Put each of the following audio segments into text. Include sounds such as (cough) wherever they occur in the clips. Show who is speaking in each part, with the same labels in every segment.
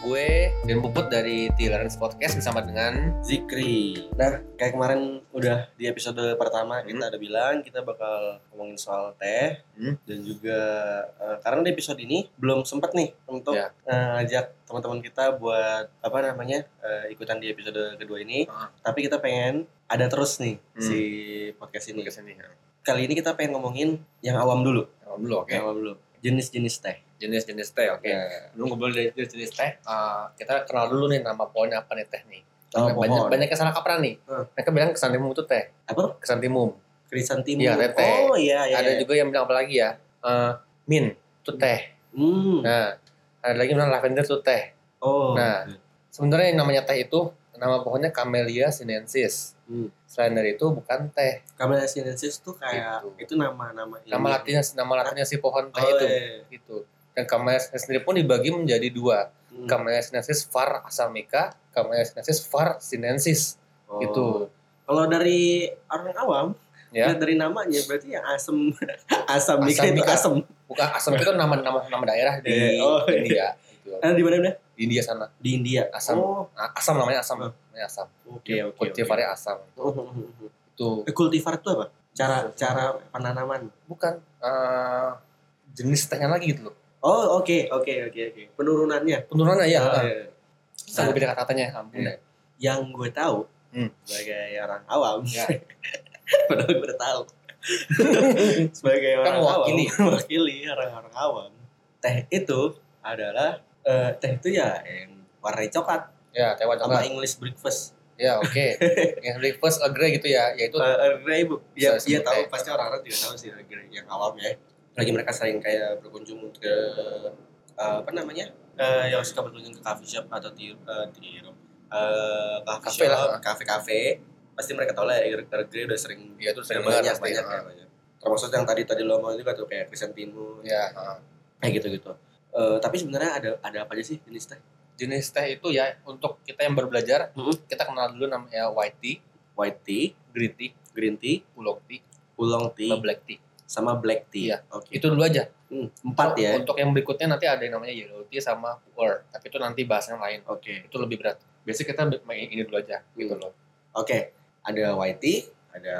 Speaker 1: gue Ben Puput dari Tolerance Podcast bersama dengan
Speaker 2: Zikri. Nah, kayak kemarin udah di episode pertama kita ada bilang kita bakal ngomongin soal teh
Speaker 1: Hmm.
Speaker 2: dan juga eh, karena di episode ini belum sempet nih untuk
Speaker 1: Ya.
Speaker 2: eh, ajak teman-teman kita buat apa namanya eh, ikutan di episode kedua ini,
Speaker 1: Heeh.
Speaker 2: tapi kita pengen ada terus nih
Speaker 1: Ah. Hmm.
Speaker 2: si podcast ini.
Speaker 1: podcast ini.
Speaker 2: Kali ini kita pengen ngomongin yang awam dulu,
Speaker 1: Awal dulu, oke.
Speaker 2: yang awam dulu. Jenis-jenis teh.
Speaker 1: Jenis-jenis teh, oke.
Speaker 2: Nah,
Speaker 1: Belum ngobrol dari jenis-jenis teh. eh, kita kenal dulu nih nama pohonnya apa nih teh nih.
Speaker 2: Nama
Speaker 1: banyak
Speaker 2: pohon.
Speaker 1: banyak yang salah kaprah nih.
Speaker 2: Hmm.
Speaker 1: Mereka bilang kesantimum itu teh.
Speaker 2: Apa?
Speaker 1: Kesantimum.
Speaker 2: Krisantimum.
Speaker 1: Iya, teteh.
Speaker 2: oh iya iya.
Speaker 1: Ada
Speaker 2: iya.
Speaker 1: juga yang bilang apa lagi ya? Eh, mint itu teh.
Speaker 2: Hmm.
Speaker 1: Nah, ada lagi yang bilang lavender itu teh.
Speaker 2: oh.
Speaker 1: nah. Sebenarnya yang namanya teh itu nama pohonnya Camellia sinensis.
Speaker 2: Hmm.
Speaker 1: Selain dari itu bukan teh.
Speaker 2: Kamera sinensis tuh kayak
Speaker 1: Gitu.
Speaker 2: itu nama-nama ini.
Speaker 1: nama latinnya nama latinnya si pohon teh
Speaker 2: Iya. Oh,
Speaker 1: itu
Speaker 2: iya.
Speaker 1: gitu dan Camellia sinensis sendiri pun dibagi menjadi dua
Speaker 2: Hmm.
Speaker 1: Camellia sinensis var asamica Camellia sinensis var sinensis
Speaker 2: Oh.
Speaker 1: gitu
Speaker 2: Kalau dari orang awam,
Speaker 1: Ya.
Speaker 2: lihat dari namanya berarti yang asem (laughs) asam
Speaker 1: Asam
Speaker 2: mikir itu
Speaker 1: Mika.
Speaker 2: asem.
Speaker 1: bukan asamica itu nama nama nama daerah di
Speaker 2: Iya. Oh, iya.
Speaker 1: India gitu.
Speaker 2: Ada di mana mana?
Speaker 1: di India sana
Speaker 2: Di India.
Speaker 1: Asam. Iya,
Speaker 2: Oh,
Speaker 1: Nah, asam namanya asam
Speaker 2: Hmm.
Speaker 1: namanya asam
Speaker 2: oke Iya, oke. Hmm,
Speaker 1: kultivarnya asam
Speaker 2: oke.
Speaker 1: itu
Speaker 2: Eh, Kultivar itu apa? Cara cara penanaman.
Speaker 1: bukan eh, jenis tehnya lagi gitu loh
Speaker 2: Oh, oke oke oke oke. Penurunannya.
Speaker 1: penurunannya ya
Speaker 2: Oh,
Speaker 1: ah.
Speaker 2: iya.
Speaker 1: bisa gue beda kata-katanya ampun
Speaker 2: Iya. yang gue tahu
Speaker 1: Hmm.
Speaker 2: sebagai orang awam,
Speaker 1: Ya. (laughs)
Speaker 2: padahal gue udah tahu sebagai
Speaker 1: Kan
Speaker 2: orang
Speaker 1: mewakili.
Speaker 2: awam, mewakili orang-orang awam. Teh itu adalah eh, teh itu ya yang warnanya coklat
Speaker 1: ya tewan
Speaker 2: sama English breakfast.
Speaker 1: ya
Speaker 2: (laughs)
Speaker 1: oke yang breakfast agree gitu ya yaitu
Speaker 2: Eh, Earl Grey bu, ya,
Speaker 1: Saya sebut
Speaker 2: ya tahu
Speaker 1: teh.
Speaker 2: pasti orang-orang juga tahu sih Earl Grey yang awam ya. Lagi mereka sering kayak berkunjung ke eh, apa namanya? Eh, yang suka berkunjung ke coffee shop atau di eh, di eh,
Speaker 1: Cafe
Speaker 2: coffee
Speaker 1: lah.
Speaker 2: shop, kafe-kafe, pasti mereka tahu lah Earl Earl Grey udah sering
Speaker 1: ya itu sering
Speaker 2: banyak
Speaker 1: banget pasti,
Speaker 2: banyak, banyak,
Speaker 1: ah.
Speaker 2: banyak. Termasuk yang tadi tadi lo mau juga tuh kayak krisantimo
Speaker 1: ya ah.
Speaker 2: kayak gitu-gitu. Eh, tapi sebenarnya ada ada apa aja sih jenis teh?
Speaker 1: jenis teh itu ya untuk kita yang baru belajar
Speaker 2: Mhm.
Speaker 1: kita kenal dulu namanya white tea,
Speaker 2: White tea,
Speaker 1: green tea,
Speaker 2: green tea,
Speaker 1: oolong tea,
Speaker 2: oolong tea,
Speaker 1: sama black tea.
Speaker 2: sama black tea.
Speaker 1: Iya.
Speaker 2: Oke.
Speaker 1: Itu dulu aja.
Speaker 2: Hmm, empat ya.
Speaker 1: Untuk yang berikutnya nanti ada yang namanya yellow tea sama puer, tapi itu nanti bahasnya lain.
Speaker 2: Oke.
Speaker 1: Itu lebih berat. Biasanya kita main ini dulu aja gitu
Speaker 2: Mm.
Speaker 1: loh.
Speaker 2: Oke, ada white tea, ada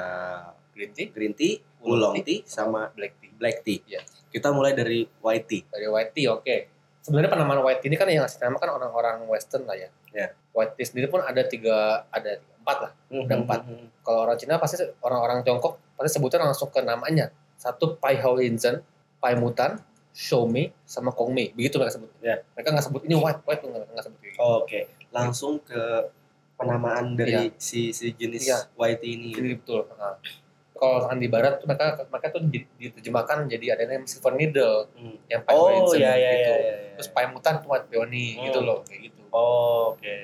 Speaker 1: Green tea,
Speaker 2: green tea,
Speaker 1: oolong
Speaker 2: oolong tea, sama
Speaker 1: black tea.
Speaker 2: black tea.
Speaker 1: Iya.
Speaker 2: Kita mulai dari white tea.
Speaker 1: Dari white tea, oke. Sebenarnya penamaan white tea ini kan yang ngasih nama kan orang-orang western lah ya.
Speaker 2: Iya.
Speaker 1: White tea sendiri pun ada tiga, ada tiga, empat lah.
Speaker 2: Hmm,
Speaker 1: Ada empat. Kalau orang Cina pasti orang-orang Tiongkok pasti sebutan langsung ke namanya. Satu Pai Hao Inzen, Pai Mutan, Xiaomi, sama Kongmi. Begitu mereka sebut.
Speaker 2: Ya.
Speaker 1: Mereka nggak sebut ini white, white nggak nggak sebut gitu. ini.
Speaker 2: hmm. Oke, langsung ke penamaan dari si, si jenis
Speaker 1: Iya.
Speaker 2: white tea ini.
Speaker 1: Ini betul. Nah, kalau misalkan di barat tuh mereka mereka tuh di- diterjemahkan jadi ada yang silver needle
Speaker 2: Hmm.
Speaker 1: yang Pai Hao
Speaker 2: Oh,
Speaker 1: Inzen
Speaker 2: iya iya
Speaker 1: gitu.
Speaker 2: iya.
Speaker 1: Terus Pai Mutan tuh white peony
Speaker 2: Hmm.
Speaker 1: gitu loh kayak gitu.
Speaker 2: Oh, oke.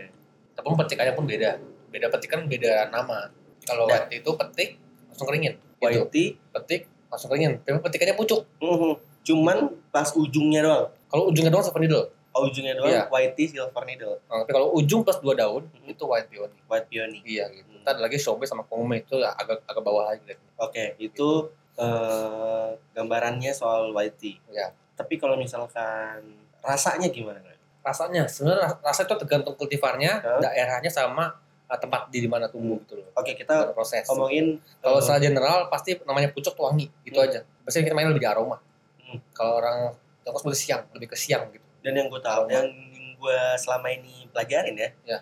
Speaker 1: Tapi petikannya pun beda. Beda petikan beda nama. Kalau
Speaker 2: Nah.
Speaker 1: white itu petik langsung keringin. Gitu.
Speaker 2: White tea.
Speaker 1: Petik langsung keringin. Tapi petikannya pucuk.
Speaker 2: Mhm. Cuman pas ujungnya doang.
Speaker 1: Kalau ujungnya doang silver needle.
Speaker 2: Oh, ujungnya doang
Speaker 1: Iya.
Speaker 2: white tea silver needle,
Speaker 1: Nah, tapi kalau ujung plus dua daun
Speaker 2: Mhm.
Speaker 1: itu white peony.
Speaker 2: white peony.
Speaker 1: Hmm. Iya gitu.
Speaker 2: Hmm.
Speaker 1: Ntar ada lagi shobe sama kome itu agak agak bawah lagi.
Speaker 2: Oke, itu eh, gambarannya soal white tea.
Speaker 1: Ya.
Speaker 2: Tapi kalau misalkan rasanya gimana? Bre?
Speaker 1: Rasanya sebenarnya ras- rasa itu tergantung kultivarnya,
Speaker 2: Hah?
Speaker 1: daerahnya sama eh, tempat di mana tumbuh gitu loh.
Speaker 2: Oke,
Speaker 1: Ada
Speaker 2: kita
Speaker 1: proses.
Speaker 2: ngomongin
Speaker 1: Kalau
Speaker 2: eh,
Speaker 1: secara general pasti namanya pucuk tuh wangi gitu
Speaker 2: Hmm.
Speaker 1: aja. Biasanya kita main lebih di aroma.
Speaker 2: Hmm.
Speaker 1: Kalau orang Tiongkok sebut siang, lebih ke siang gitu.
Speaker 2: dan yang gue tahu yang gue selama ini pelajarin ya.
Speaker 1: Ya.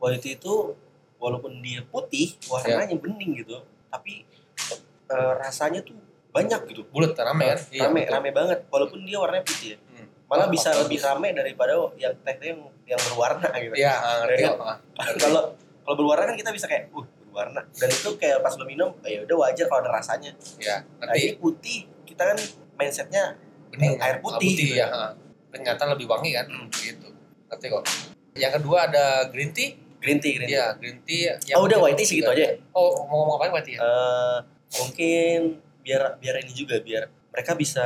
Speaker 2: White tea itu walaupun dia putih,
Speaker 1: Ya.
Speaker 2: warnanya bening gitu, tapi eh, rasanya tuh banyak gitu.
Speaker 1: Bulat rame kan? Iya,
Speaker 2: rame,
Speaker 1: betul.
Speaker 2: rame banget walaupun dia warnanya putih ya.
Speaker 1: Hmm.
Speaker 2: Malah
Speaker 1: Pas-
Speaker 2: bisa
Speaker 1: pas-
Speaker 2: lebih rame daripada yang teh yang yang berwarna gitu.
Speaker 1: Iya, ah, ngerti
Speaker 2: Iya.
Speaker 1: kok. Ah, ngerti.
Speaker 2: kalau kalau berwarna kan kita bisa kayak uh berwarna dan itu kayak pas lo minum "Ah, ya udah wajar kalau ada rasanya
Speaker 1: Iya,
Speaker 2: nah,
Speaker 1: ngerti.
Speaker 2: ini putih kita kan mindsetnya
Speaker 1: bening
Speaker 2: air
Speaker 1: ah,
Speaker 2: putih gitu. Hmm,
Speaker 1: ya ah. ternyata lebih wangi kan gitu ngerti kok yang kedua ada green tea
Speaker 2: green tea green tea
Speaker 1: Iya, green tea
Speaker 2: oh udah white tea segitu aja ya
Speaker 1: oh mau ngomong apa white tea ya?
Speaker 2: Eh, mungkin biar biar ini juga biar mereka bisa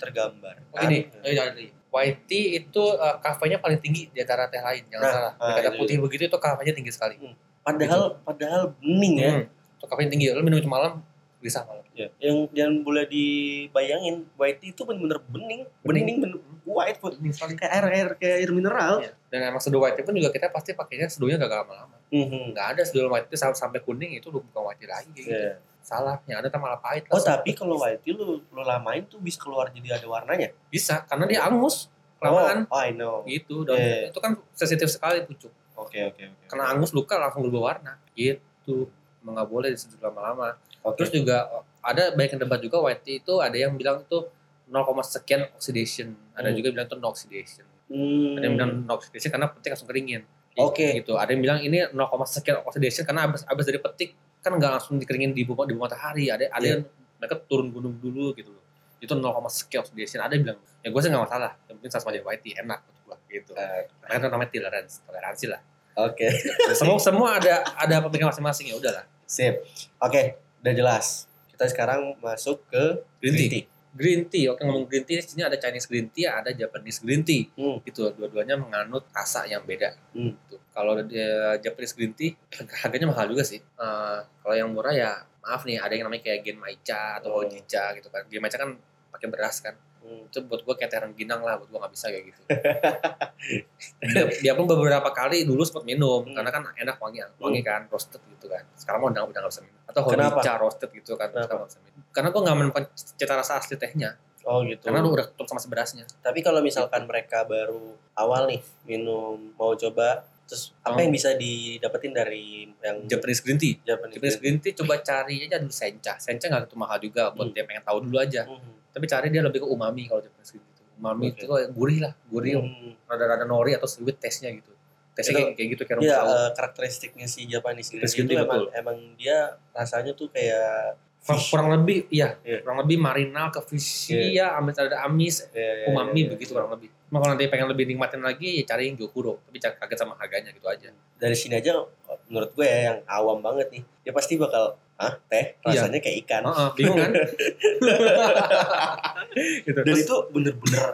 Speaker 2: tergambar
Speaker 1: oh, ini
Speaker 2: anu.
Speaker 1: oh, iya, iya. white tea itu eh, kafenya paling tinggi di antara teh lain jangan
Speaker 2: Nah,
Speaker 1: salah
Speaker 2: ah,
Speaker 1: kata
Speaker 2: itu
Speaker 1: putih begitu itu kafenya tinggi sekali
Speaker 2: padahal padahal bening ya
Speaker 1: Hmm, itu kafenya tinggi lu minum semalam Gelisah malah.
Speaker 2: Ya. Yang yang boleh dibayangin white tea itu bener-bener bening,
Speaker 1: Bening.
Speaker 2: bening, bener white pun
Speaker 1: Ini sekali.
Speaker 2: kayak air air kayak air mineral.
Speaker 1: Iya. Dan emang seduh white tea pun juga kita pasti pakainya seduhnya gak lama-lama.
Speaker 2: Mhm.
Speaker 1: Nggak ada seduh white tea sam- sampai kuning itu udah bukan white tea lagi. gitu.
Speaker 2: Ya.
Speaker 1: Salah, yang ada tuh malah pahit.
Speaker 2: Oh
Speaker 1: langsung.
Speaker 2: tapi kalau white tea lu lu lamain tuh bisa keluar jadi ada warnanya.
Speaker 1: Bisa, karena dia angus. Kelamaan.
Speaker 2: Oh, oh, I know.
Speaker 1: Gitu, daun
Speaker 2: Iya.
Speaker 1: itu kan sensitif sekali pucuk.
Speaker 2: Oke oke oke.
Speaker 1: Kena angus luka langsung berubah warna. Gitu. Emang nggak boleh diseduh lama-lama.
Speaker 2: Oke.
Speaker 1: Terus juga oh, ada banyak yang debat juga white tea itu ada yang bilang itu 0, sekian oxidation. Ada
Speaker 2: Hmm.
Speaker 1: juga bilang itu no oxidation.
Speaker 2: Hmm.
Speaker 1: Ada yang bilang no oxidation karena petik langsung keringin.
Speaker 2: Oke.
Speaker 1: Gitu. Ada yang bilang ini 0, sekian oxidation karena abis abis dari petik kan nggak langsung dikeringin di bawah di bawah matahari. Ada ada
Speaker 2: Iya.
Speaker 1: yang mereka turun gunung dulu gitu loh. Itu 0, sekian oxidation. Ada yang bilang ya gue sih nggak masalah. Yang penting sama aja white tea enak menurut gua gitu.
Speaker 2: Eh,
Speaker 1: Makanya itu namanya toleransi, toleransi lah. (laughs)
Speaker 2: Oke.
Speaker 1: semua semua ada ada pemikiran masing-masing ya udahlah.
Speaker 2: Sip. Oke, udah jelas. Kita sekarang masuk ke
Speaker 1: Green tea.
Speaker 2: tea.
Speaker 1: green tea. Oke ngomong green tea, di sini ada Chinese green tea, ada Japanese green tea.
Speaker 2: Hmm.
Speaker 1: Gitu, dua-duanya menganut rasa yang beda.
Speaker 2: Hmm.
Speaker 1: Gitu. Kalau eh, Japanese green tea (clears throat) harganya mahal juga sih. Eh, kalau yang murah ya maaf nih, ada yang namanya kayak gen maicha atau
Speaker 2: Oh.
Speaker 1: hojicha gitu kan. Gen maicha kan pakai beras kan.
Speaker 2: Hmm.
Speaker 1: Itu buat gua kayak terang ginang lah, buat gua nggak bisa
Speaker 2: (laughs)
Speaker 1: kayak gitu. dia, dia pun beberapa kali dulu sempat minum
Speaker 2: Hmm.
Speaker 1: karena kan enak wangi, wangi kan roasted gitu kan. Sekarang mau udah udah nggak bisa minum. Atau
Speaker 2: Kenapa?
Speaker 1: hojicha roasted gitu kan,
Speaker 2: Kenapa?
Speaker 1: sekarang nggak bisa minum. Karena gua nggak menemukan cita rasa asli tehnya.
Speaker 2: Oh gitu.
Speaker 1: Karena lu udah tutup sama seberasnya.
Speaker 2: Tapi kalau misalkan mereka baru awal nih minum mau coba terus
Speaker 1: Oh.
Speaker 2: apa yang bisa didapetin dari yang
Speaker 1: Japanese green tea.
Speaker 2: Japanese
Speaker 1: Japanese green tea coba cari aja dulu sencha. Sencha nggak gitu mahal juga buat
Speaker 2: Hmm.
Speaker 1: yang pengen tahu dulu aja.
Speaker 2: Mhm.
Speaker 1: Tapi cari dia lebih ke umami kalau Japanese green tea. itu. Umami
Speaker 2: Oke.
Speaker 1: itu kayak gurih lah, gurih.
Speaker 2: Mhm.
Speaker 1: Rada-rada nori atau sedikit taste-nya gitu. Taste-nya
Speaker 2: Itu-
Speaker 1: kayak, kayak gitu kayak rumput
Speaker 2: Iya,
Speaker 1: laut.
Speaker 2: eh, karakteristiknya si Japanese green
Speaker 1: Japanese
Speaker 2: tea
Speaker 1: green
Speaker 2: itu
Speaker 1: tea,
Speaker 2: emang emang dia rasanya tuh kayak
Speaker 1: Kurang,
Speaker 2: fish.
Speaker 1: kurang lebih iya,
Speaker 2: Iya.
Speaker 1: kurang lebih marinal ke fishy ya, amis ada amis,
Speaker 2: Iya, iya,
Speaker 1: umami
Speaker 2: iya, iya.
Speaker 1: begitu kurang lebih. Cuma kalau nanti pengen lebih nikmatin lagi ya cari yang gyokuro, tapi jangan kaget sama harganya gitu aja.
Speaker 2: Dari sini aja menurut gue ya yang awam banget nih. Dia pasti bakal ah teh
Speaker 1: Iya.
Speaker 2: rasanya kayak ikan.
Speaker 1: Heeh, bingung kan? gitu.
Speaker 2: (laughs) Dan
Speaker 1: Terus-
Speaker 2: itu bener-bener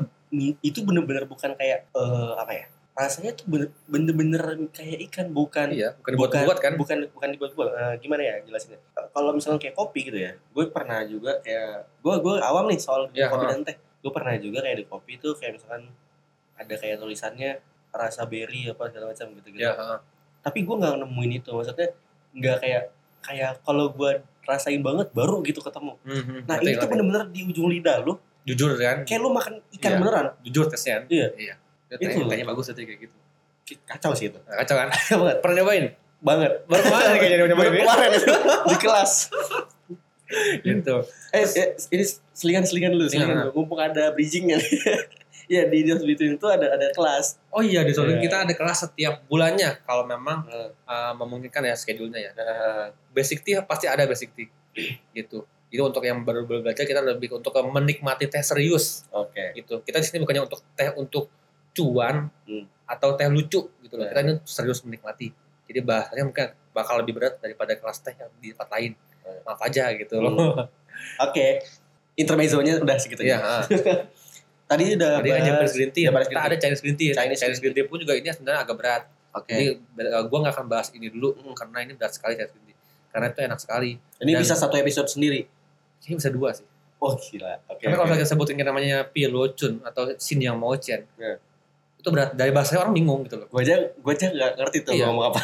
Speaker 2: itu bener-bener bukan kayak eh, apa ya? Rasanya tuh bener- bener-bener kayak ikan bukan
Speaker 1: iya, bukan dibuat-buat kan?
Speaker 2: bukan bukan dibuat-buat Eh, gimana ya jelasinnya Eh, kalau misalnya kayak kopi gitu ya gue pernah juga kayak gue gue awam nih soal
Speaker 1: Ya,
Speaker 2: kopi
Speaker 1: ha.
Speaker 2: dan teh gue pernah juga kayak di kopi tuh kayak misalkan ada kayak tulisannya rasa berry apa segala macam gitu gitu
Speaker 1: Iya, heeh.
Speaker 2: tapi gue nggak nemuin itu maksudnya nggak kayak kayak kalau gue rasain banget baru gitu ketemu
Speaker 1: Mhm,
Speaker 2: nah
Speaker 1: ngerti,
Speaker 2: ini tuh
Speaker 1: ngerti.
Speaker 2: bener-bener di ujung lidah lu
Speaker 1: jujur kan
Speaker 2: kayak lu makan ikan
Speaker 1: Iya.
Speaker 2: beneran
Speaker 1: jujur tesnya kan
Speaker 2: Iya.
Speaker 1: iya Dia tanya,
Speaker 2: Itu loh.
Speaker 1: tanya bagus tadi kayak gitu
Speaker 2: kacau sih itu
Speaker 1: nah, kacau
Speaker 2: (laughs)
Speaker 1: kan
Speaker 2: kacau banget
Speaker 1: pernah nyobain (laughs)
Speaker 2: banget
Speaker 1: baru kemarin kayaknya
Speaker 2: Baru
Speaker 1: nyobain
Speaker 2: kemarin
Speaker 1: (laughs)
Speaker 2: di kelas
Speaker 1: gitu
Speaker 2: Eh, eh, ini selingan-selingan dulu, selingan
Speaker 1: Iya.
Speaker 2: dulu. Mumpung ada bridgingnya nih. (laughs) ya di Just Between itu ada ada kelas.
Speaker 1: oh iya di Solo
Speaker 2: Iya.
Speaker 1: kita ada kelas setiap bulannya kalau memang
Speaker 2: Heeh.
Speaker 1: uh, memungkinkan ya schedule-nya ya basic tea pasti ada basic tea gitu itu untuk yang baru baru belajar kita lebih untuk ke menikmati teh serius
Speaker 2: Oke.
Speaker 1: gitu kita di sini bukannya untuk teh untuk cuan
Speaker 2: Hmm.
Speaker 1: atau teh lucu gitu loh
Speaker 2: Iya.
Speaker 1: kita ini serius menikmati jadi bahasanya mungkin bakal lebih berat daripada kelas teh yang di tempat lain
Speaker 2: Iya.
Speaker 1: maaf aja gitu
Speaker 2: Hmm.
Speaker 1: loh
Speaker 2: Oke. Intermezzonya udah segitu
Speaker 1: (laughs) Iya,
Speaker 2: ya.
Speaker 1: heeh.
Speaker 2: Tadi udah
Speaker 1: Tadi kan Japanese green tea,
Speaker 2: Japanese
Speaker 1: kita
Speaker 2: green
Speaker 1: ada Chinese green tea. ya.
Speaker 2: Chinese
Speaker 1: Chinese, green tea pun juga ini sebenarnya agak berat.
Speaker 2: Oke.
Speaker 1: Jadi eh, gua nggak akan bahas ini dulu
Speaker 2: Mm.
Speaker 1: karena ini berat sekali Chinese green tea. Karena itu enak sekali.
Speaker 2: Ini
Speaker 1: Dan-
Speaker 2: bisa satu episode sendiri.
Speaker 1: Ini bisa dua sih.
Speaker 2: Oh, gila. Oke.
Speaker 1: Karena
Speaker 2: oke.
Speaker 1: kalau kita sebutin yang namanya pilocun atau sin yang mau chen,
Speaker 2: Iya.
Speaker 1: itu berat dari bahasanya orang bingung gitu loh.
Speaker 2: Gua aja gua aja nggak ngerti tuh
Speaker 1: Iya.
Speaker 2: ngomong apa.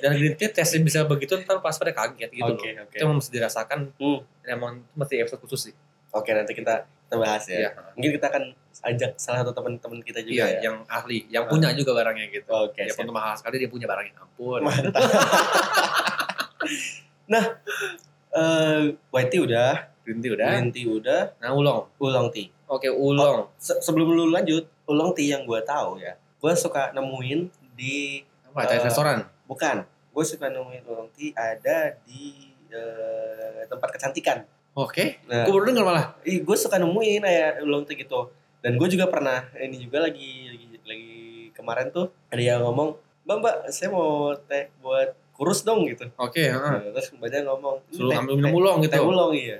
Speaker 1: Dan green tea tesnya bisa begitu ntar pas pada kaget gitu
Speaker 2: Oke,
Speaker 1: loh.
Speaker 2: oke.
Speaker 1: Itu emang mesti dirasakan.
Speaker 2: Hmm.
Speaker 1: dan Emang itu mesti episode khusus sih.
Speaker 2: Oke, nanti kita kita bahas ya.
Speaker 1: Iya.
Speaker 2: Mungkin kita akan ajak salah satu teman-teman kita
Speaker 1: Iya,
Speaker 2: juga ya.
Speaker 1: yang ahli, yang
Speaker 2: Ah.
Speaker 1: punya juga barangnya gitu.
Speaker 2: Oke.
Speaker 1: Ya,
Speaker 2: siap.
Speaker 1: pun mahal sekali dia punya barangnya. Ampun.
Speaker 2: Mantap. (laughs) nah, eh white tea udah,
Speaker 1: Green tea udah.
Speaker 2: green tea udah,
Speaker 1: Nah, ulong.
Speaker 2: oolong tea.
Speaker 1: Oke, ulong.
Speaker 2: Se- sebelum lu lanjut, oolong tea yang gua tahu ya, gua suka nemuin di
Speaker 1: Apa? Chinese
Speaker 2: Eh,
Speaker 1: restoran.
Speaker 2: bukan, gua suka nemuin oolong tea ada di eh, tempat kecantikan.
Speaker 1: Oke,
Speaker 2: Nah,
Speaker 1: gue baru denger malah.
Speaker 2: ih, gua suka nemuin kayak oolong tea gitu. Dan gue juga pernah ini juga lagi lagi, lagi kemarin tuh ada yang ngomong, "Mbak, Mbak, saya mau teh buat kurus dong" gitu.
Speaker 1: Oke, heeh.
Speaker 2: Nah, terus mbaknya ngomong, "Ini
Speaker 1: Ah. suruh
Speaker 2: teh-
Speaker 1: ambil minum ulong
Speaker 2: teh, teh
Speaker 1: gitu.
Speaker 2: oolong iya.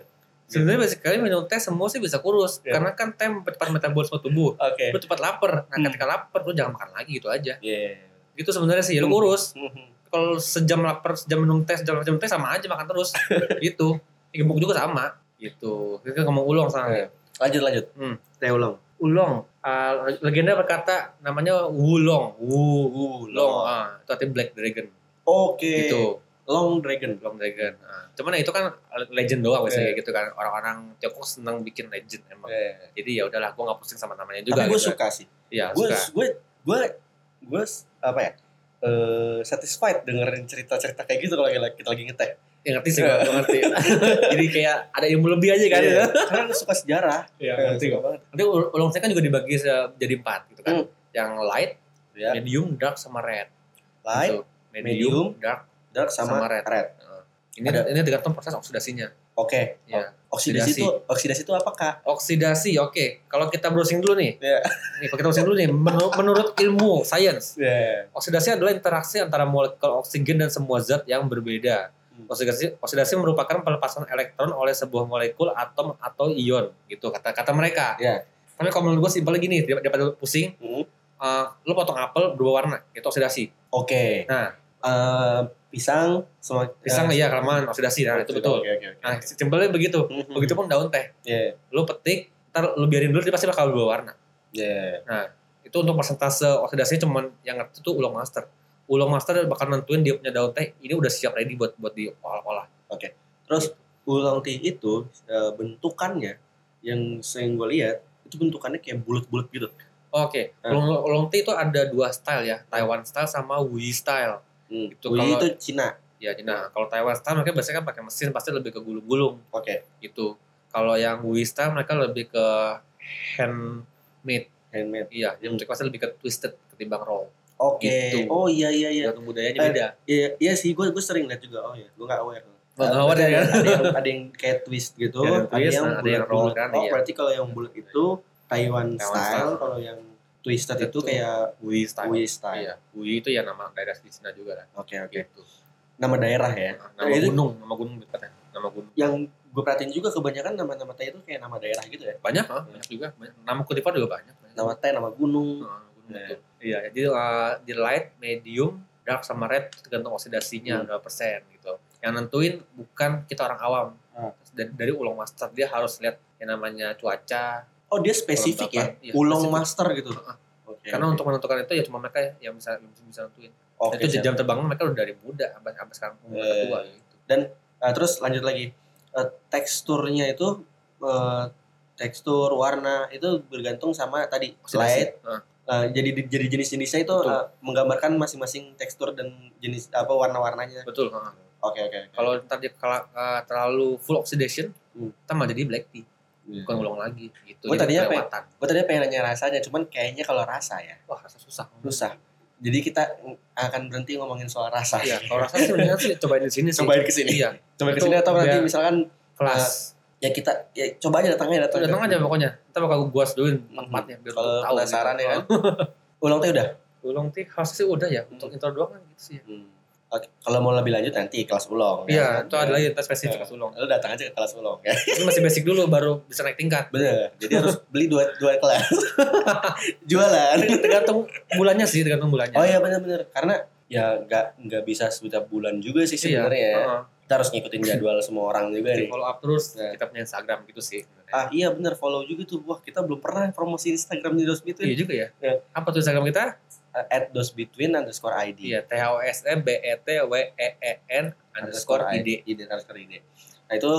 Speaker 1: Sebenarnya basically minum teh semua sih bisa kurus,
Speaker 2: Iya.
Speaker 1: karena kan teh cepat metabolisme tubuh.
Speaker 2: Oke.
Speaker 1: Lu cepat lapar. Nah,
Speaker 2: Hmm.
Speaker 1: ketika lapar lu jangan makan lagi gitu aja.
Speaker 2: Iya.
Speaker 1: Gitu sebenarnya sih, lu kurus.
Speaker 2: Mhm.
Speaker 1: (laughs) Kalau sejam lapar, sejam minum teh, sejam minum teh sama aja makan terus. gitu. Gembok juga sama gitu. Kita ngomong ulong soalnya.
Speaker 2: Lanjut lanjut.
Speaker 1: Hmm.
Speaker 2: Teh ulang.
Speaker 1: Eh, Ulong. Ah, legenda berkata namanya Wulong. Wulong.
Speaker 2: Ulong.
Speaker 1: Uh, Ah, itu artinya Black Dragon.
Speaker 2: Oke.
Speaker 1: Gitu.
Speaker 2: Long Dragon.
Speaker 1: Long Dragon. Nah, cuman itu kan legend doang biasanya
Speaker 2: Iya.
Speaker 1: gitu kan. Orang-orang Tiongkok senang bikin legend emang.
Speaker 2: Eh.
Speaker 1: Jadi ya udahlah, gue nggak pusing sama namanya juga.
Speaker 2: Tapi gue
Speaker 1: gitu.
Speaker 2: suka sih.
Speaker 1: Iya,
Speaker 2: Gue
Speaker 1: suka.
Speaker 2: gue gue gue apa ya? eh satisfied dengerin cerita-cerita kayak gitu kalau lagi kita lagi ngeteh.
Speaker 1: Ya, ngerti sih, gue ngerti. (laughs) Jadi kayak ada ilmu lebih aja kan.
Speaker 2: Iya.
Speaker 1: ya.
Speaker 2: (laughs) Karena lu suka sejarah.
Speaker 1: Iya,
Speaker 2: Eh,
Speaker 1: ngerti
Speaker 2: suka
Speaker 1: kok.
Speaker 2: banget.
Speaker 1: Nanti ul- ulung saya kan juga dibagi se- jadi empat gitu kan.
Speaker 2: Hmm.
Speaker 1: Yang light,
Speaker 2: Ya.
Speaker 1: medium, dark, sama red.
Speaker 2: Light,
Speaker 1: gitu. medium, dark.
Speaker 2: dark sama,
Speaker 1: Sama red.
Speaker 2: red.
Speaker 1: Nah, Ini
Speaker 2: Ada.
Speaker 1: ini tergantung proses oksidasinya.
Speaker 2: Oke.
Speaker 1: Iya.
Speaker 2: Oksidasi
Speaker 1: Oksidasi.
Speaker 2: itu oksidasi itu apa kak?
Speaker 1: Oksidasi, oke. Kalau kita browsing dulu nih.
Speaker 2: Oh. Iya.
Speaker 1: Nih, kalau kita browsing dulu nih. Menurut, menurut ilmu, science.
Speaker 2: Iya.
Speaker 1: Oksidasi adalah interaksi antara molekul oksigen dan semua zat yang berbeda.
Speaker 2: Hmm.
Speaker 1: Oksidasi, oksidasi merupakan pelepasan elektron oleh sebuah molekul atom atau ion, gitu kata kata mereka.
Speaker 2: Iya.
Speaker 1: Tapi kalau menurut gue simpelnya gini, dia- daripada lu pusing,
Speaker 2: Hmm.
Speaker 1: eh, lu potong apel dua warna, itu oksidasi.
Speaker 2: Oke.
Speaker 1: Nah.
Speaker 2: Eh, pisang sama eh,
Speaker 1: Pisang iya kelamaan oksidasi, nah itu betul.
Speaker 2: Oke Ya. oke oke.
Speaker 1: Nah, simpelnya begitu.
Speaker 2: Mhm.
Speaker 1: Begitupun daun teh,
Speaker 2: Iya.
Speaker 1: lu petik, ntar lu biarin dulu dia pasti bakal dua warna.
Speaker 2: Iya.
Speaker 1: Itu untuk persentase oksidasinya cuman yang ngerti tuh ulung master. Ulung master bakal nentuin dia punya daun teh ini udah siap ready buat buat diolah-olah.
Speaker 2: Terus ulang teh itu eh, bentukannya yang sering gue lihat itu bentukannya kayak bulat-bulat gitu.
Speaker 1: Oke,
Speaker 2: Eh.
Speaker 1: long long tea itu ada dua style ya, Taiwan style sama Wuyi style.
Speaker 2: Hmm.
Speaker 1: Itu
Speaker 2: Wih,
Speaker 1: kalau-
Speaker 2: itu Cina.
Speaker 1: Ya, nah kalau Taiwan style mereka biasanya kan pakai mesin pasti lebih ke gulung-gulung
Speaker 2: Oke.
Speaker 1: gitu. Kalau yang Wuyi style mereka lebih ke handmade,
Speaker 2: Handmade.
Speaker 1: iya, jadi
Speaker 2: Hmm.
Speaker 1: mereka pasti lebih ke twisted ketimbang roll.
Speaker 2: Oke.
Speaker 1: Gitu.
Speaker 2: Oh iya iya iya.
Speaker 1: Tergantung budayanya
Speaker 2: Eh,
Speaker 1: beda.
Speaker 2: Iya, iya sih gue gue sering lihat juga. Oh iya, gue nggak aware.
Speaker 1: Nggak aware
Speaker 2: ada,
Speaker 1: ya?
Speaker 2: ada yang ada yang kayak twist gitu,
Speaker 1: Ada yang twist, nah, ada yang roll
Speaker 2: bulat-bulat.
Speaker 1: kan,
Speaker 2: Oh,
Speaker 1: iya.
Speaker 2: berarti kalau yang bulat itu Taiwan,
Speaker 1: Taiwan
Speaker 2: style,
Speaker 1: style.
Speaker 2: kalau yang twisted itu,
Speaker 1: Itu
Speaker 2: kayak
Speaker 1: Wuyi style.
Speaker 2: Wii style.
Speaker 1: Iya, Wuyi itu ya nama daerah di Cina juga kan.
Speaker 2: Oke, oke.
Speaker 1: Gitu.
Speaker 2: Nama daerah ya.
Speaker 1: Nama
Speaker 2: Nah, itu-
Speaker 1: gunung, nama gunung dekatnya. Nama gunung.
Speaker 2: Yang gue perhatiin juga kebanyakan nama-nama teh itu kayak nama daerah gitu ya.
Speaker 1: Banyak, ah, banyak juga. Banyak. Nama kutipan juga banyak.
Speaker 2: Nama teh, nama gunung.
Speaker 1: Heeh, gunung
Speaker 2: Nah.
Speaker 1: betul. Iya, jadi uh, di light, medium, dark sama red tergantung oksidasinya
Speaker 2: Hmm.
Speaker 1: berapa persen gitu. Yang nentuin bukan kita orang awam.
Speaker 2: Hmm.
Speaker 1: Dari, dari ulung master dia harus lihat yang namanya cuaca.
Speaker 2: Oh, dia spesifik ya.
Speaker 1: Iya,
Speaker 2: Ulong
Speaker 1: spesifik.
Speaker 2: master gitu.
Speaker 1: Heeh.
Speaker 2: Oke.
Speaker 1: Karena untuk menentukan itu ya cuma mereka yang bisa yang bisa nentuin.
Speaker 2: iya.
Speaker 1: Nah,
Speaker 2: oke,
Speaker 1: itu
Speaker 2: siap.
Speaker 1: jam terbang mereka udah dari muda sampai sampai sekarang umur
Speaker 2: Eh.
Speaker 1: tua gitu.
Speaker 2: Nah, terus lanjut lagi. Eh, teksturnya itu eh, tekstur warna itu bergantung sama tadi
Speaker 1: Oksidasi. Nah,
Speaker 2: light
Speaker 1: Heeh.
Speaker 2: Eh, jadi jadi jenis-jenisnya itu
Speaker 1: Betul.
Speaker 2: eh, menggambarkan masing-masing tekstur dan jenis apa warna-warnanya.
Speaker 1: betul. heeh.
Speaker 2: Oke oke. oke.
Speaker 1: Kalau ntar dia kela- eh, terlalu full oxidation,
Speaker 2: Hmm.
Speaker 1: kita malah jadi black tea,
Speaker 2: Iya.
Speaker 1: bukan ulung lagi gitu.
Speaker 2: Gua
Speaker 1: Jadi
Speaker 2: tadinya ya? pengen-
Speaker 1: kelewatan.
Speaker 2: Gue tadi pengen nanya rasanya, cuman kayaknya kalau rasa ya
Speaker 1: Wah, rasa susah.
Speaker 2: susah. Jadi kita akan berhenti ngomongin soal rasa.
Speaker 1: Iya, kalau rasa sih mendingan sih cobain di sini sih.
Speaker 2: (laughs) Cobain kesini.
Speaker 1: Iya,
Speaker 2: Coba
Speaker 1: Itu
Speaker 2: kesini atau nanti
Speaker 1: biar-
Speaker 2: misalkan
Speaker 1: kelas.
Speaker 2: ya kita ya coba aja datangnya
Speaker 1: Itu
Speaker 2: datang.
Speaker 1: datang aja pokoknya. Kita bakal guas dulu tempatnya biar
Speaker 2: Hmm, Kalau
Speaker 1: lu tahu.
Speaker 2: penasaran
Speaker 1: gitu.
Speaker 2: ya
Speaker 1: (laughs)
Speaker 2: kan. Ulang teh udah.
Speaker 1: Ulung teh harusnya sih udah ya
Speaker 2: Hmm.
Speaker 1: untuk intro doang kan gitu sih. ya.
Speaker 2: Oke. Kalau mau lebih lanjut nanti kelas ulong.
Speaker 1: Iya,
Speaker 2: ya kan?
Speaker 1: itu ada lagi tes spesifik
Speaker 2: Iya.
Speaker 1: kelas ulung.
Speaker 2: Lu datang aja ke kelas ulong ya.
Speaker 1: Ini masih basic dulu baru bisa naik tingkat.
Speaker 2: Bener. Jadi harus beli dua dua kelas. (laughs) Jualan. (laughs)
Speaker 1: Tergantung bulannya sih, tergantung bulannya.
Speaker 2: Oh iya benar-benar karena ya nggak nggak bisa setiap bulan juga sih
Speaker 1: Iya,
Speaker 2: sebenarnya. ya.
Speaker 1: heeh.
Speaker 2: Kita harus ngikutin jadwal semua orang juga
Speaker 1: Di
Speaker 2: nih.
Speaker 1: follow up terus
Speaker 2: Iya.
Speaker 1: kita punya Instagram gitu sih.
Speaker 2: Ah iya benar follow juga tuh. Wah kita belum pernah promosi Instagramnya Dos Between.
Speaker 1: Iya juga ya.
Speaker 2: Iya.
Speaker 1: Apa tuh Instagram kita?
Speaker 2: Eh, At Dos Between underscore ID.
Speaker 1: Iya, T H O S M B E T W E E N underscore I D.
Speaker 2: ID underscore ID. Nah itu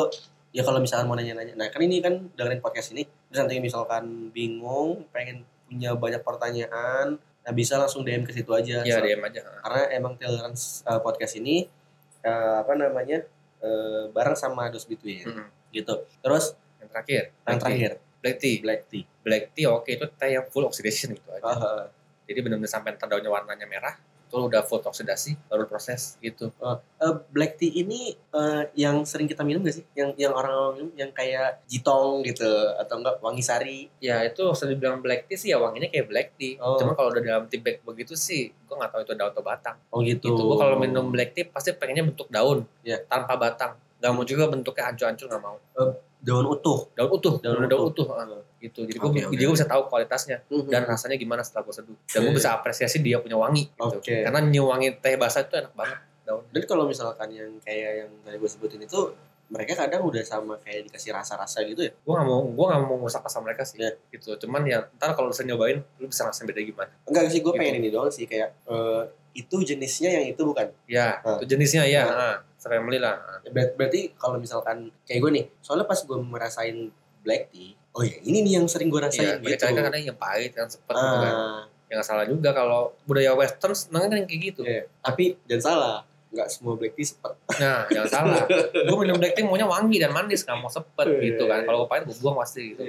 Speaker 2: ya kalau misalkan mau nanya-nanya. Nah kan ini kan dengerin podcast ini. Terus nanti misalkan bingung, pengen punya banyak pertanyaan. Nah bisa langsung DM ke situ aja.
Speaker 1: Iya,
Speaker 2: So-
Speaker 1: DM aja. heeh.
Speaker 2: karena emang tolerance uh, podcast ini uh, apa namanya uh, bareng sama Dos Between
Speaker 1: Mm-mm.
Speaker 2: gitu terus
Speaker 1: Yang terakhir.
Speaker 2: yang
Speaker 1: Hmm. Black tea.
Speaker 2: terakhir
Speaker 1: Black tea.
Speaker 2: black tea
Speaker 1: Black tea oke itu teh yang full oxidation gitu aja.
Speaker 2: Ah,
Speaker 1: Jadi benar-benar sampai ntar daunnya warnanya merah, itu udah full oksidasi, baru proses gitu.
Speaker 2: uh, black tea ini uh, yang sering kita minum gak sih yang yang orang minum yang kayak jitong gitu atau enggak wangi sari
Speaker 1: Ya itu sering dibilang black tea sih ya wanginya kayak black tea.
Speaker 2: Oh.
Speaker 1: Cuma kalau udah dalam tea bag begitu sih, gue nggak tahu itu daun atau batang.
Speaker 2: oh gitu
Speaker 1: Gitu, gue kalau minum black tea pasti pengennya bentuk daun,
Speaker 2: Iya.
Speaker 1: tanpa batang. Gak mau juga bentuknya hancur-hancur gak mau.
Speaker 2: daun utuh
Speaker 1: Daun utuh, daun,
Speaker 2: Daun
Speaker 1: daun utuh. ah, gitu. Jadi gue
Speaker 2: Oke, oke.
Speaker 1: bisa tahu kualitasnya dan
Speaker 2: Mhm.
Speaker 1: rasanya gimana setelah gue seduh. Dan gue
Speaker 2: Iya,
Speaker 1: bisa apresiasi dia punya wangi. Gitu.
Speaker 2: Oke.
Speaker 1: Karena nyewangi teh basah itu enak banget. Daun.
Speaker 2: dan kalau misalkan yang kayak yang tadi gue sebutin itu mereka kadang udah sama kayak dikasih rasa-rasa gitu ya.
Speaker 1: gue gak mau gue gak mau ngusak asam mereka sih
Speaker 2: Iya.
Speaker 1: gitu cuman ya ntar kalau bisa nyobain lu bisa ngerasain beda gimana
Speaker 2: Enggak sih, gue
Speaker 1: Gitu.
Speaker 2: pengen ini doang sih kayak eh, itu jenisnya yang itu bukan.
Speaker 1: ya
Speaker 2: Ah.
Speaker 1: itu jenisnya ya ah,
Speaker 2: Ah.
Speaker 1: family lah ah.
Speaker 2: Ber- berarti kalau misalkan kayak gue nih, soalnya pas gue merasain black tea, oh ya ini nih yang sering gue
Speaker 1: Iya,
Speaker 2: rasain
Speaker 1: gitu.
Speaker 2: gitu.
Speaker 1: kan kadang yang pahit, yang sepet gitu kan.
Speaker 2: Ah,
Speaker 1: Ya nggak salah juga kalau budaya western senangnya kan yang kayak gitu.
Speaker 2: iya. Tapi jangan salah, nggak semua black tea sepet.
Speaker 1: Nah, jangan salah. Gue minum black tea maunya wangi dan manis, nggak mau sepet
Speaker 2: Iya,
Speaker 1: gitu
Speaker 2: iya.
Speaker 1: kan. Kalau gue pahit, gue buang pasti gitu.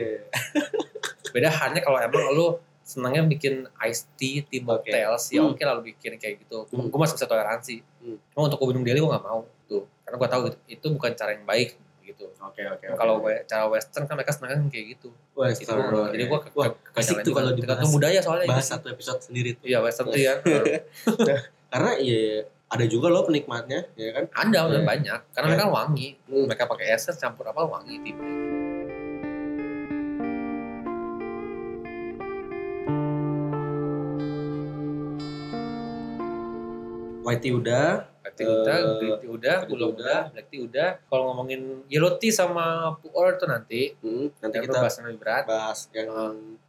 Speaker 1: Beda hanya kalau emang lu senangnya bikin iced tea, tea mocktails, ya
Speaker 2: Hmm.
Speaker 1: oke lah lu bikin kayak gitu.
Speaker 2: Hmm.
Speaker 1: Gue masih bisa toleransi.
Speaker 2: Hmm.
Speaker 1: Cuma untuk gue minum daily gue nggak mau tuh. Karena gue tahu itu, itu bukan cara yang baik gitu.
Speaker 2: Oke oke.
Speaker 1: Kalau we- cara western kan mereka senangnya kayak gitu. Gitu. Jadi gue
Speaker 2: iya. Wah, asik tuh ya. kalau dibahas.
Speaker 1: tergantung budaya ya soalnya. gitu.
Speaker 2: bahas satu episode sendiri.
Speaker 1: Iya western tuh ya.
Speaker 2: Karena ya ada juga loh penikmatnya, ya kan?
Speaker 1: Ada udah
Speaker 2: Iya.
Speaker 1: banyak karena
Speaker 2: Iya.
Speaker 1: mereka wangi.
Speaker 2: Hmm.
Speaker 1: Mereka pakai essence campur apa wangi tipe.
Speaker 2: White tea udah,
Speaker 1: Black tea udah,
Speaker 2: Eh,
Speaker 1: green tea udah,
Speaker 2: green tea
Speaker 1: gula
Speaker 2: udah.
Speaker 1: udah, black tea udah. Kalau ngomongin yellow tea sama pu'er tuh nanti
Speaker 2: hmm, nanti
Speaker 1: nanti
Speaker 2: kita
Speaker 1: kita bahas yang Hmm. lebih berat.
Speaker 2: bahas yang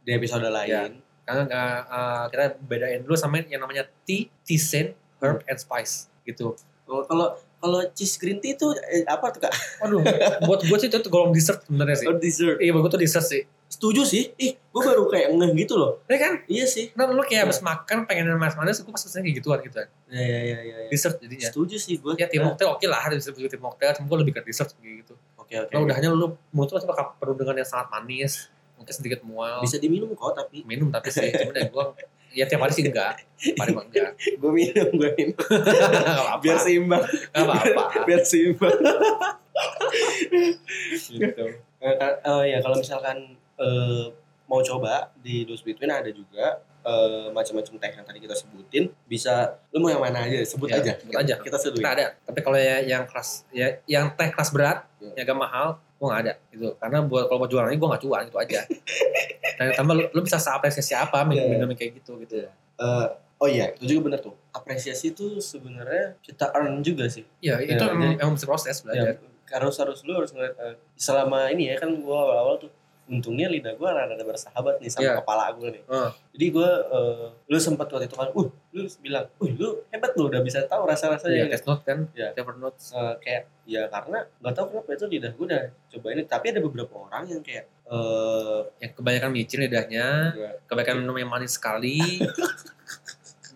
Speaker 2: di episode lain.
Speaker 1: Karena eh, eh, kita bedain dulu sama yang namanya tea, tea scent, herb
Speaker 2: Hmm.
Speaker 1: and spice gitu.
Speaker 2: Kalau Oh, kalau kalau cheese green tea itu eh, apa tuh kak?
Speaker 1: Waduh, buat gue sih itu tuh golongan dessert sebenarnya sih.
Speaker 2: Oh, (laughs) dessert.
Speaker 1: Iya, buat gue tuh dessert sih.
Speaker 2: Setuju sih. Ih, gue baru kayak ngeh gitu loh.
Speaker 1: Iya kan?
Speaker 2: Iya sih.
Speaker 1: Nah, lu kayak habis makan pengen yang manis-manis, gue pas pesennya kayak gituan gitu kan.
Speaker 2: Ya ya ya ya. ya.
Speaker 1: Dessert jadinya.
Speaker 2: Setuju sih gue.
Speaker 1: Ya, tim mocktail oke lah, harus disebut tim mocktail, cuma gue lebih ke dessert kayak gitu.
Speaker 2: iya. Oke oke.
Speaker 1: Kalau udahnya lu mulut lu pasti bakal penuh dengan yang sangat manis, mungkin sedikit mual.
Speaker 2: Bisa diminum kok (laughs) tapi
Speaker 1: minum tapi sih cuman dari gua ya tiap hari sih enggak, tiap hari mah
Speaker 2: (laughs)
Speaker 1: enggak.
Speaker 2: gue minum gue minum
Speaker 1: Enggak apa-apa.
Speaker 2: biar seimbang
Speaker 1: Enggak apa-apa.
Speaker 2: biar seimbang (laughs) gitu Eh, ka- eh, ya kalau misalkan eh, mau coba di Dos Between ada juga eh, macam-macam teh yang tadi kita sebutin bisa lu mau yang mana aja Iya, sebut
Speaker 1: Ya,
Speaker 2: aja Nah.
Speaker 1: sebut aja.
Speaker 2: kita seduhin
Speaker 1: Kita ada. Tapi kalau ya- yang kelas ya yang teh kelas berat,
Speaker 2: Ya.
Speaker 1: yang agak mahal, gua enggak ada gitu. Karena buat kalau buat jualannya gua enggak jualan gitu
Speaker 2: (laughs)
Speaker 1: aja. Dan tambah lu, lu bisa seapresiasi apa minum
Speaker 2: Ya.
Speaker 1: minum yang kayak gitu gitu.
Speaker 2: Eh, oh iya itu juga bener tuh apresiasi itu sebenarnya kita earn juga sih
Speaker 1: Ya, itu
Speaker 2: Ya,
Speaker 1: emang, emang mesti proses
Speaker 2: Ya,
Speaker 1: belajar.
Speaker 2: harus harus lu harus ngeliat eh, selama ini ya kan gua awal-awal tuh untungnya lidah gua rada-rada bersahabat nih
Speaker 1: Iya.
Speaker 2: sama kepala gua nih.
Speaker 1: Heeh.
Speaker 2: Jadi gua eh, lu sempat waktu itu kan, uh, lu bilang, uh, lu hebat lu udah bisa tahu rasa-rasanya.
Speaker 1: Iya,
Speaker 2: ini."
Speaker 1: test note kan,
Speaker 2: Ya.
Speaker 1: paper notes.
Speaker 2: Eh, kayak ya karena nggak tahu kenapa itu lidah gua udah coba ini tapi ada beberapa orang yang kayak eh
Speaker 1: Yang kebanyakan micin lidahnya,
Speaker 2: Ya.
Speaker 1: kebanyakan minum yang manis sekali.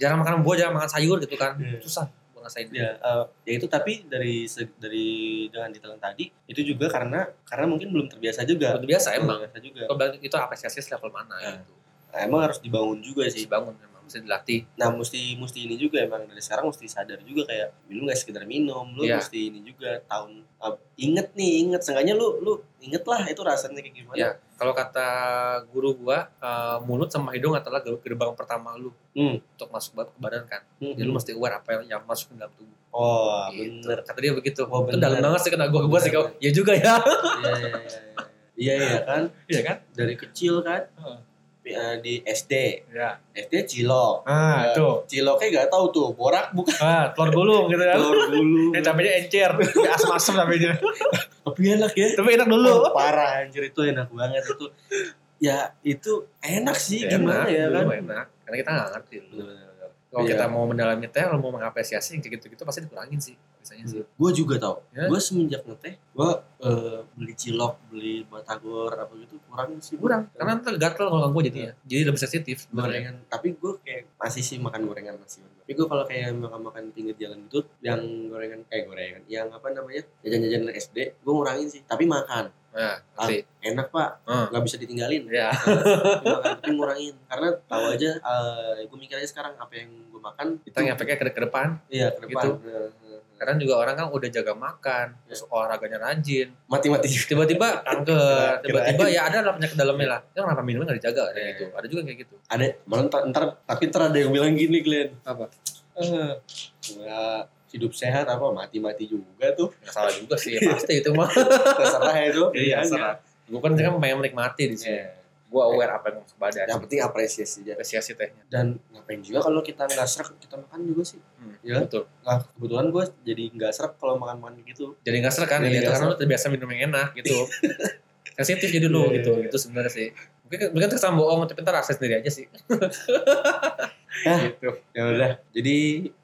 Speaker 1: jarang makan buah, jarang makan sayur gitu kan.
Speaker 2: Ya.
Speaker 1: Susah gua ngasain.
Speaker 2: ya eh, ya itu tapi dari se- dari dengan detail yang tadi itu juga karena karena mungkin belum terbiasa juga.
Speaker 1: Udah biasa emang.
Speaker 2: Belum terbiasa juga.
Speaker 1: Kalau bilang itu apresiasi level mana
Speaker 2: Ya.
Speaker 1: gitu.
Speaker 2: Nah, emang harus dibangun juga
Speaker 1: Mesti
Speaker 2: sih.
Speaker 1: bangun memang mesti dilatih.
Speaker 2: nah mesti mesti ini juga emang dari sekarang mesti sadar juga kayak lu nggak sekedar minum lu
Speaker 1: Iya.
Speaker 2: mesti ini juga tahun uh, inget nih inget seenggaknya lu lu inget lah itu rasanya kayak gimana
Speaker 1: Iya. Kalau kata guru gua, eh, mulut sama hidung adalah ger- gerbang pertama lu
Speaker 2: Hmm.
Speaker 1: untuk masuk buat ke badan kan.
Speaker 2: Hmm.
Speaker 1: Jadi lu mesti aware apa yang, yang masuk ke dalam tubuh.
Speaker 2: oh
Speaker 1: Gitu.
Speaker 2: bener
Speaker 1: Kata dia begitu.
Speaker 2: Oh,
Speaker 1: itu
Speaker 2: bener.
Speaker 1: dalam banget sih kena gua gua sih
Speaker 2: Bener.
Speaker 1: kau. Ya juga ya. (laughs)
Speaker 2: Iya, iya, iya iya iya kan
Speaker 1: Iya kan?
Speaker 2: dari kecil kan
Speaker 1: Heeh.
Speaker 2: eh, di SD
Speaker 1: Iya.
Speaker 2: SD cilok Nah,
Speaker 1: Ah, tuh.
Speaker 2: ciloknya nggak tahu tuh borak bukan
Speaker 1: Ah, telur gulung gitu kan.
Speaker 2: telur
Speaker 1: (laughs)
Speaker 2: dulu
Speaker 1: Ya, capeknya encer, Ya, asem-asem capeknya.
Speaker 2: tapi enak ya
Speaker 1: Tapi enak dulu.
Speaker 2: parah anjir itu enak banget itu ya itu enak sih gimana ya
Speaker 1: dulu
Speaker 2: kan
Speaker 1: Enak. Karena kita nggak ngerti dulu.
Speaker 2: Bener-bener.
Speaker 1: Kalau
Speaker 2: Iya.
Speaker 1: kita mau mendalami teh, kalau mau mengapresiasi yang kayak gitu-gitu pasti dikurangin sih biasanya sih.
Speaker 2: Gue Iya. juga tau.
Speaker 1: Ya.
Speaker 2: Gue semenjak ngeteh, gue beli cilok, beli batagor apa gitu kurang Iya. sih.
Speaker 1: kurang karena ntar gatel kalau gue jadinya jadi lebih sensitif sebenarnya
Speaker 2: gorengan. Tapi gue kayak masih sih makan gorengan masih. Tapi gue kalau kayak makan makan pinggir jalan gitu, yang gorengan eh gorengan, yang apa namanya jajan-jajan dari SD, gue ngurangin sih. Tapi makan
Speaker 1: nah nanti
Speaker 2: enak pak,
Speaker 1: Hmm.
Speaker 2: nggak bisa ditinggalin.
Speaker 1: ya
Speaker 2: Tapi
Speaker 1: (laughs)
Speaker 2: makan, tapi ngurangin karena tahu aja. gue mikirnya sekarang apa yang gue makan itu
Speaker 1: kita ngepeknya ke, ke depan
Speaker 2: iya ke depan.
Speaker 1: gitu.
Speaker 2: Nah, nah, nah.
Speaker 1: karena juga orang kan udah jaga makan
Speaker 2: Iya.
Speaker 1: terus olahraganya rajin
Speaker 2: Mati-mati juga.
Speaker 1: tiba-tiba kanker
Speaker 2: Iya, Kirain.
Speaker 1: tiba-tiba ya ada lah penyakit dalamnya lah ya kenapa minumnya nggak dijaga kayak
Speaker 2: Iya.
Speaker 1: gitu ada juga kayak gitu
Speaker 2: ada malah ntar, ntar tapi ntar ada yang bilang gini Glenn
Speaker 1: Apa?
Speaker 2: Eh, ya, hidup sehat apa mati-mati juga tuh
Speaker 1: nggak salah juga sih
Speaker 2: Iya.
Speaker 1: pasti itu mah
Speaker 2: terserah itu
Speaker 1: Iya, terserah. gue kan kan pengen menikmati di sini
Speaker 2: Iya.
Speaker 1: gue aware apa yang masuk badan
Speaker 2: yang penting apresiasi aja
Speaker 1: apresiasi tehnya
Speaker 2: dan ngapain juga kalau kita nggak serak kita makan juga sih Hmm.
Speaker 1: Ya. Betul.
Speaker 2: Nah, kebetulan gue jadi nggak serap kalau makan-makan kayak gitu.
Speaker 1: Jadi nggak serkan ya,
Speaker 2: Jadi
Speaker 1: itu
Speaker 2: nggak
Speaker 1: karena lu biasa minum yang enak gitu. (laughs) Sensitif jadi lu
Speaker 2: Iya,
Speaker 1: gitu.
Speaker 2: iya, iya.
Speaker 1: Itu sebenarnya sih. Mungkin mungkin terkesan bohong, tapi ntar akses sendiri aja sih.
Speaker 2: Ah,
Speaker 1: gitu.
Speaker 2: ya udah. Jadi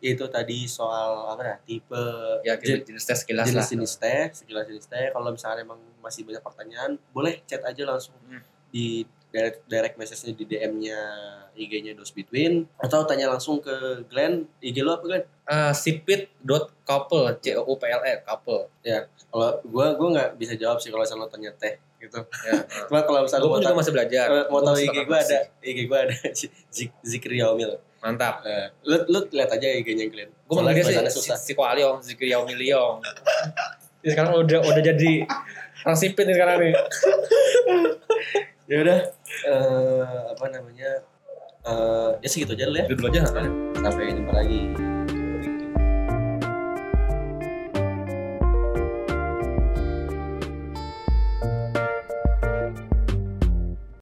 Speaker 2: itu tadi soal apa ya? Tipe
Speaker 1: Ya gitu, jenis tes sekilas lah.
Speaker 2: jenis-jenis teh, sekilas-jenis teh. Kalau misalnya emang masih banyak pertanyaan, boleh chat aja langsung
Speaker 1: Hmm.
Speaker 2: di direct, direct message-nya di DM-nya IG-nya Dos Between atau tanya langsung ke Glenn. IG lu apa Glenn?
Speaker 1: Eh, sipit.couple, C O U P L E, couple.
Speaker 2: Kalau gua gua nggak bisa jawab sih kalau misalnya lo tanya teh gitu.
Speaker 1: Ya.
Speaker 2: (laughs) Cuma kalau misalnya
Speaker 1: Gue
Speaker 2: mau
Speaker 1: pun juga
Speaker 2: tahu
Speaker 1: masih belajar.
Speaker 2: Eh, mau
Speaker 1: Gua
Speaker 2: tahu
Speaker 1: masih
Speaker 2: IG
Speaker 1: bakal
Speaker 2: gua ada,
Speaker 1: masih.
Speaker 2: IG gua ada (laughs) Zik- Zikri Yaumil.
Speaker 1: Mantap.
Speaker 2: Eh, lu lu lihat aja IG-nya Glenn.
Speaker 1: Gue manggil dia
Speaker 2: Soalnya
Speaker 1: si, si,
Speaker 2: susah.
Speaker 1: si Ko Aliong, Zikri Yaumi Liong. Dia sekarang udah udah (laughs) jadi orang sipit nih sekarang nih.
Speaker 2: Ya udah eh, apa namanya? Eh, ya segitu aja dulu ya.
Speaker 1: Udah dulu aja.
Speaker 2: Sampai jumpa lagi.